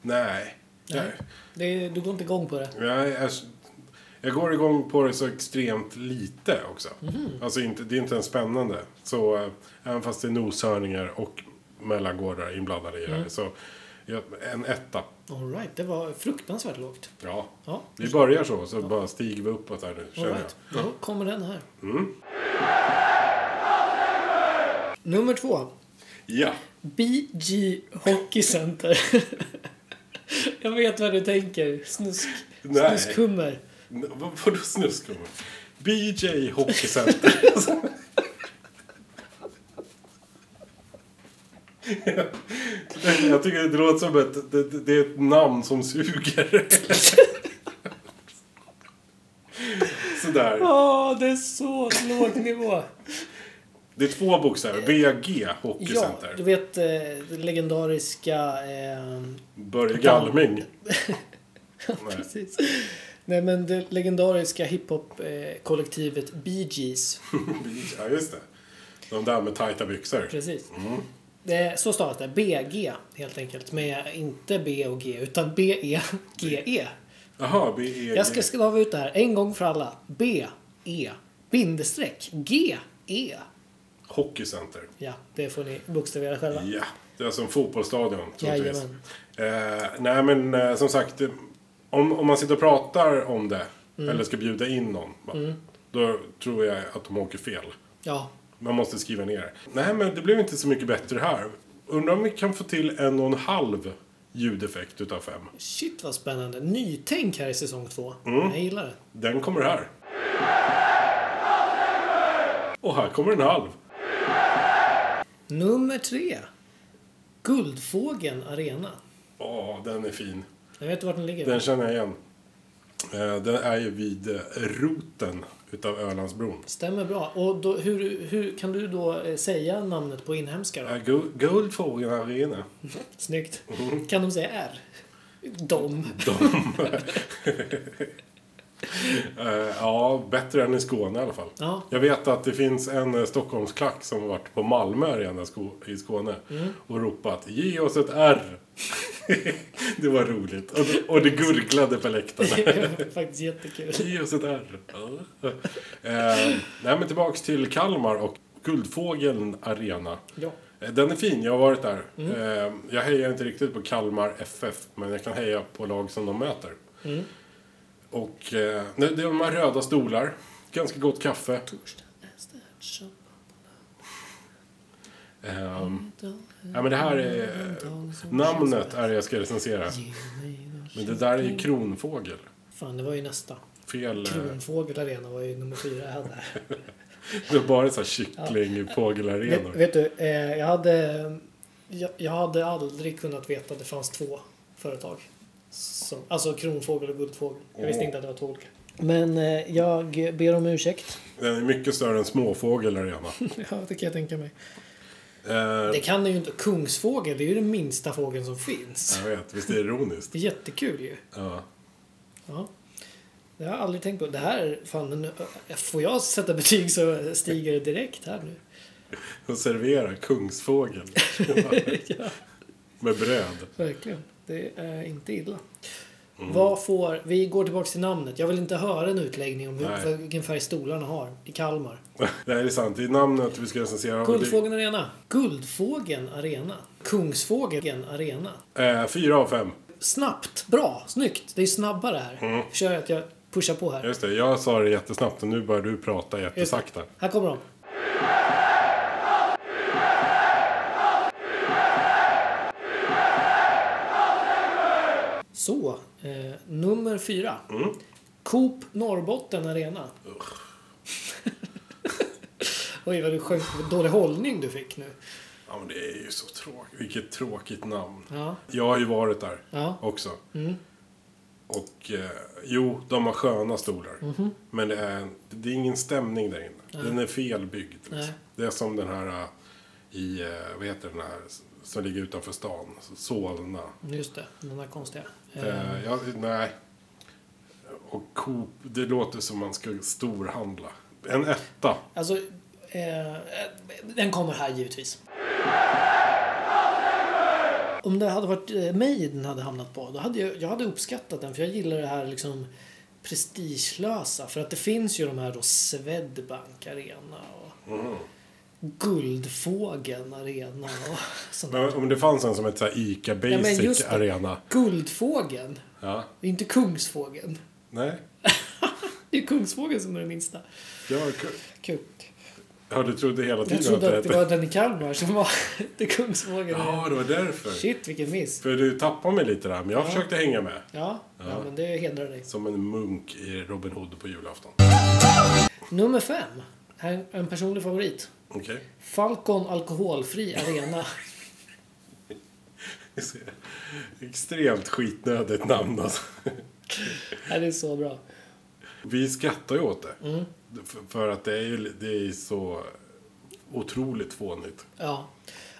S1: nej.
S2: Nej.
S1: Nej.
S2: Det är, du går inte igång på det.
S1: Jag, är, jag går igång på det så extremt lite också.
S2: Mhm.
S1: Alltså inte, det är inte ens spännande.
S2: Mm.
S1: Så eh, även fast det är noshörningar och mellangårdar inblandade i det här så Ja, En etta.
S2: Alright, det var fruktansvärt lågt.
S1: Ja.
S2: Ja,
S1: Vi börjar så, så bara stiger vi uppåt här nu, känner jag.
S2: Alright, då kommer den här. Nummer två.
S1: Ja.
S2: BG Hockey Center. jag vet vad du tänker. Snusk,
S1: Nej.
S2: snuskhummer.
S1: N- Vad Vadå snuskhummer? BJ Hockey Center. Ja. Jag tycker det låter som ett... Det, det- det är ett namn som suger. Sådär.
S2: Åh, det är så låg nivå.
S1: Det är två bokstäver. BG Hockey
S2: ja,
S1: Center.
S2: du vet eh, det legendariska... Eh,
S1: Börje Galming. Nej.
S2: precis. Nej, men det legendariska hiphop-kollektivet Bee Gees.
S1: Ja, just det. De där med tajta byxor.
S2: Precis. Det är, så stavas det. BG helt enkelt. Med inte B och G utan B-E-G-E.
S1: Jaha, BG.
S2: Jag ska skriva ut det här en gång för alla. B-E bindestreck G-E.
S1: Hockey Center.
S2: Ja, det får ni bokstavera själva.
S1: Ja, det är som fotbollsstadion troligtvis.
S2: Jajamän.
S1: Eh, nej men eh, som sagt, eh, om, om man sitter och pratar om det eller ska bjuda in någon. va, Då tror jag att de åker fel.
S2: Ja,
S1: Man måste skriva ner. Nej men det blev inte så mycket bättre här. Undrar om vi kan få till en och en halv ljudeffekt utav fem.
S2: shit vad spännande. Nytänk här i säsong två.
S1: Mm.
S2: Jag gillar det.
S1: Den kommer här. Och här kommer en halv.
S2: Nummer tre. Guldfågeln Arena.
S1: Åh, den är fin.
S2: Jag vet var den ligger.
S1: Den känner jag igen. Eh, Den är ju vid eh, roten utav Ölandsbron.
S2: Stämmer bra. Och då, hur, hur kan du då eh, säga namnet på inhemska då?
S1: Ja, Gu- Guldfågeln Arena.
S2: Snyggt.
S1: Mm.
S2: Kan de säga R? De.
S1: Eh, ja, bättre än i Skåne i alla fall.
S2: Ja.
S1: Jag vet att det finns en eh, Stockholmsklack som har varit på Malmö Arena sko- i Skåne och ropat Ge oss ett R! det var roligt. Och det, och det gurglade på läktarna.
S2: Faktiskt jättekul.
S1: Ge oss ett R! Ja. eh, nej, men tillbaks till Kalmar och Guldfågeln Arena.
S2: Ja.
S1: Eh, Den är fin, jag har varit där. Eh, Jag hejar inte riktigt på Kalmar FF, men jag kan heja på lag som de möter. Och eh, nej, det är de här röda stolar, ganska gott kaffe. Eh, ja, men det här är... Namnet är det jag ska recensera. Men det där är ju Kronfågel.
S2: Fan, det var ju nästa.
S1: Fel... eh,
S2: Kronfågel Arena var ju nummer fyra jag hade. här.
S1: Det var bara så här kycklingfågelarenor.
S2: vet, vet du, eh, jag hade, jag, jag hade aldrig kunnat veta att det fanns två företag. Som, alltså kronfågel och guldfågel. Jag visste
S1: Åh.
S2: inte att det var två olika. Men eh, jag ber om ursäkt.
S1: Den är mycket större än Småfågel Arena.
S2: ja, det kan jag tänka mig.
S1: Eh,
S2: Det kan det ju inte. Kungsfågel, det är ju den minsta fågeln som finns.
S1: jag vet, visst är det ironiskt?
S2: Det är jättekul ju.
S1: Ja.
S2: Ja. Det har jag aldrig tänkt på. Det här, är fan, nu- får jag sätta betyg så stiger det direkt här nu.
S1: Och servera Kungsfågel. Med bröd.
S2: Verkligen. Det är inte illa. Vad får, vi går tillbaks till namnet. Jag vill inte höra en utläggning om
S1: Nej.
S2: hur, vilken färg stolarna har i Kalmar.
S1: Nej, det är sant. Det är namnet vi ska recensera.
S2: Guldfågeln Arena. Guldfågeln Arena. Kungsfågeln Arena.
S1: Eh, fyra av fem.
S2: Snabbt, bra, snyggt. Det är snabbare här. Kör att jag pushar på här.
S1: Just det, jag sa det jättesnabbt och nu börjar du prata jättesakta.
S2: Här kommer de. Så, eh, nummer fyra. Coop Norrbotten Arena. Oj, vad du sjönk. vad Dålig hållning du fick nu.
S1: Ja, men det är ju så tråkigt. Vilket tråkigt namn.
S2: Ja.
S1: Jag har ju varit där
S2: Ja.
S1: också.
S2: Mm.
S1: Och eh, jo, de har sköna stolar.
S2: Mhm.
S1: Men det är, det är ingen stämning där inne. Den är felbyggd. liksom.
S2: Nej.
S1: Det är som den här eh, i, eh, vad heter den här, som ligger utanför stan. Solna.
S2: Just det, den där konstiga. Eh,
S1: Eh, ja, nej. Och Coop, det låter som man ska storhandla. En etta.
S2: Alltså, eh, eh, den kommer här givetvis. Om det hade varit eh, mig den hade hamnat på, då hade jag, jag hade uppskattat den för jag gillar det här liksom prestigelösa. För att det finns ju de här då Swedbank Arena och Guldfågeln arena och sånt
S1: Men
S2: där.
S1: om det fanns en som hette så här Ica
S2: Ja, men
S1: Basic
S2: just det.
S1: Arena.
S2: Guldfågeln.
S1: Ja.
S2: Det är inte Kungsfågeln.
S1: Nej.
S2: Det är Kungsfågeln som är den minsta.
S1: Jag var kul.
S2: Kul.
S1: Ja, du trodde hela tiden
S2: Jag trodde att det
S1: hette-
S2: var den i Kalmar som var det Kungsfågeln.
S1: Ja, det var därför.
S2: Shit, vilken miss.
S1: För du tappade mig lite där, men jag försökte hänga med.
S2: Ja, ja. men det hedrar dig.
S1: Som en munk i Robin Hood på julafton.
S2: Nummer fem. Här är en personlig favorit.
S1: Okej.
S2: Falcon Alkoholfri Arena.
S1: Vi ser. Extremt skitnödigt namn alltså.
S2: Nej, det är så bra.
S1: Vi skrattar ju åt det.
S2: Mm.
S1: För, för att det är ju det är så otroligt fånigt.
S2: Ja.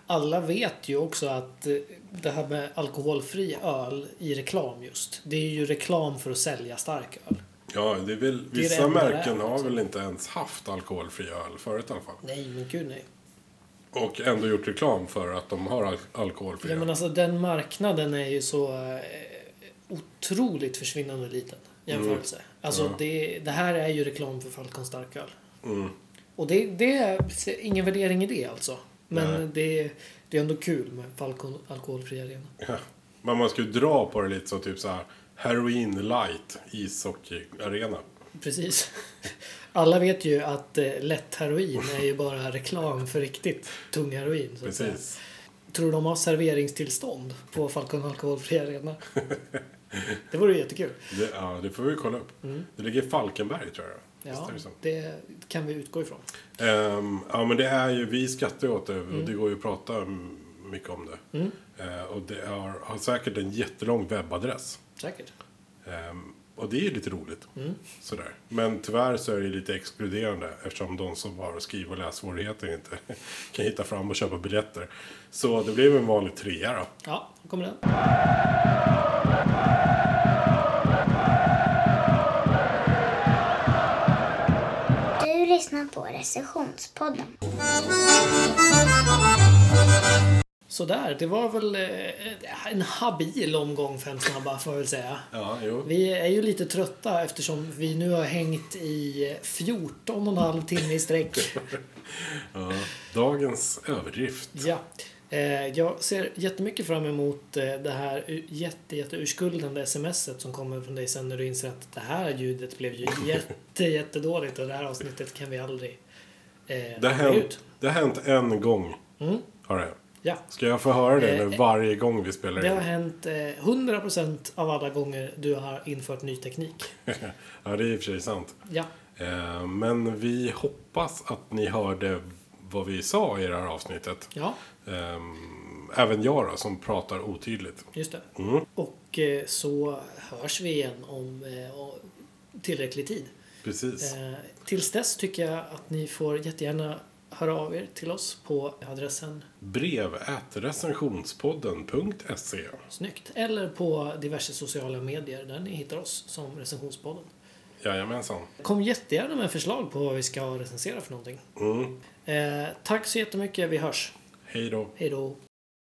S2: Alla vet ju också att eh, det här med alkoholfri öl i reklam just. Det är ju reklam för att sälja stark öl.
S1: Ja, det är väl,
S2: är det
S1: vissa
S2: enda det
S1: märken
S2: är,
S1: har
S2: liksom.
S1: väl inte ens haft alkoholfri öl förut i alla fall.
S2: Nej, men gud nej.
S1: Och ändå gjort reklam för att de har al- alkoholfri
S2: Ja, men
S1: öl.
S2: alltså den marknaden är ju så eh, otroligt försvinnande liten jämförelse. Alltså det, det här är ju reklam för Falcon starköl. Och det, det är se- ingen värdering i det alltså. Men det, det är ändå kul med Falcon alkoholfri arena.
S1: Ja. Men man ska ju dra på det lite så typ så här heroin light ishockeyarena.
S2: Precis. Alla vet ju att eh, lätt heroin är ju bara reklam för riktigt tung heroin. Så att säga.
S1: Precis.
S2: Tror du de har serveringstillstånd på Falcon alkoholfri arena? Det vore ju jättekul.
S1: Det, ja, det får vi kolla upp. Det ligger i Falkenberg tror jag. Visst
S2: Ja,
S1: är det så?
S2: det kan vi utgå ifrån.
S1: Ehm, ja, men det är ju, vi skrattar ju åt det och det går ju att prata mm, mycket om det. Eh, och det har, har säkert en jättelång webbadress.
S2: Säkert.
S1: Ehm, och det är ju lite roligt. Sådär. Men tyvärr så är det lite exkluderande eftersom de som har skriv och lässvårigheter inte kan hitta fram och köpa biljetter. Så det blev en vanlig trea då.
S2: Ja, då kommer den.
S3: Du lyssnar på recensionspodden.
S2: Sådär, det var väl eh, en habil omgång fem snabba får jag väl säga.
S1: Ja, jo.
S2: Vi är ju lite trötta eftersom vi nu har hängt i 14 och en halv timme i sträck.
S1: Ja. Dagens överdrift.
S2: Ja. Eh, Jag ser jättemycket fram emot eh, det här u- jätte, jätte urskuldande smset som kommer från dig sen när du inser att det här ljudet blev ju jätte, jättedåligt och det här avsnittet kan vi aldrig eh,
S1: Det har
S2: lägga
S1: hänt,
S2: ut.
S1: det har hänt en gång. Har det.
S2: Ja.
S1: Ska jag få höra det
S2: Eh,
S1: nu varje gång vi spelar
S2: Det
S1: in?
S2: har hänt eh, 100% av alla gånger du har infört ny teknik.
S1: ja, det är i och för sig sant.
S2: Ja,
S1: Eh, Men vi hoppas att ni hörde vad vi sa i det här avsnittet.
S2: ja
S1: Ehm, Även jag då, som pratar otydligt.
S2: just det. Och eh, så hörs vi igen om eh, och- tillräcklig tid.
S1: Precis.
S2: Eh, tills dess tycker jag att ni får jättegärna höra av er till oss på adressen
S1: Brev at recensionspodden.se
S2: Snyggt. Eller på diverse sociala medier där ni hittar oss som recensionspodden.
S1: Jajamensan.
S2: Kom jättegärna med förslag på vad vi ska recensera för någonting.
S1: Mm.
S2: Eh, tack så jättemycket. Vi hörs.
S1: Hej då.
S2: Hej då.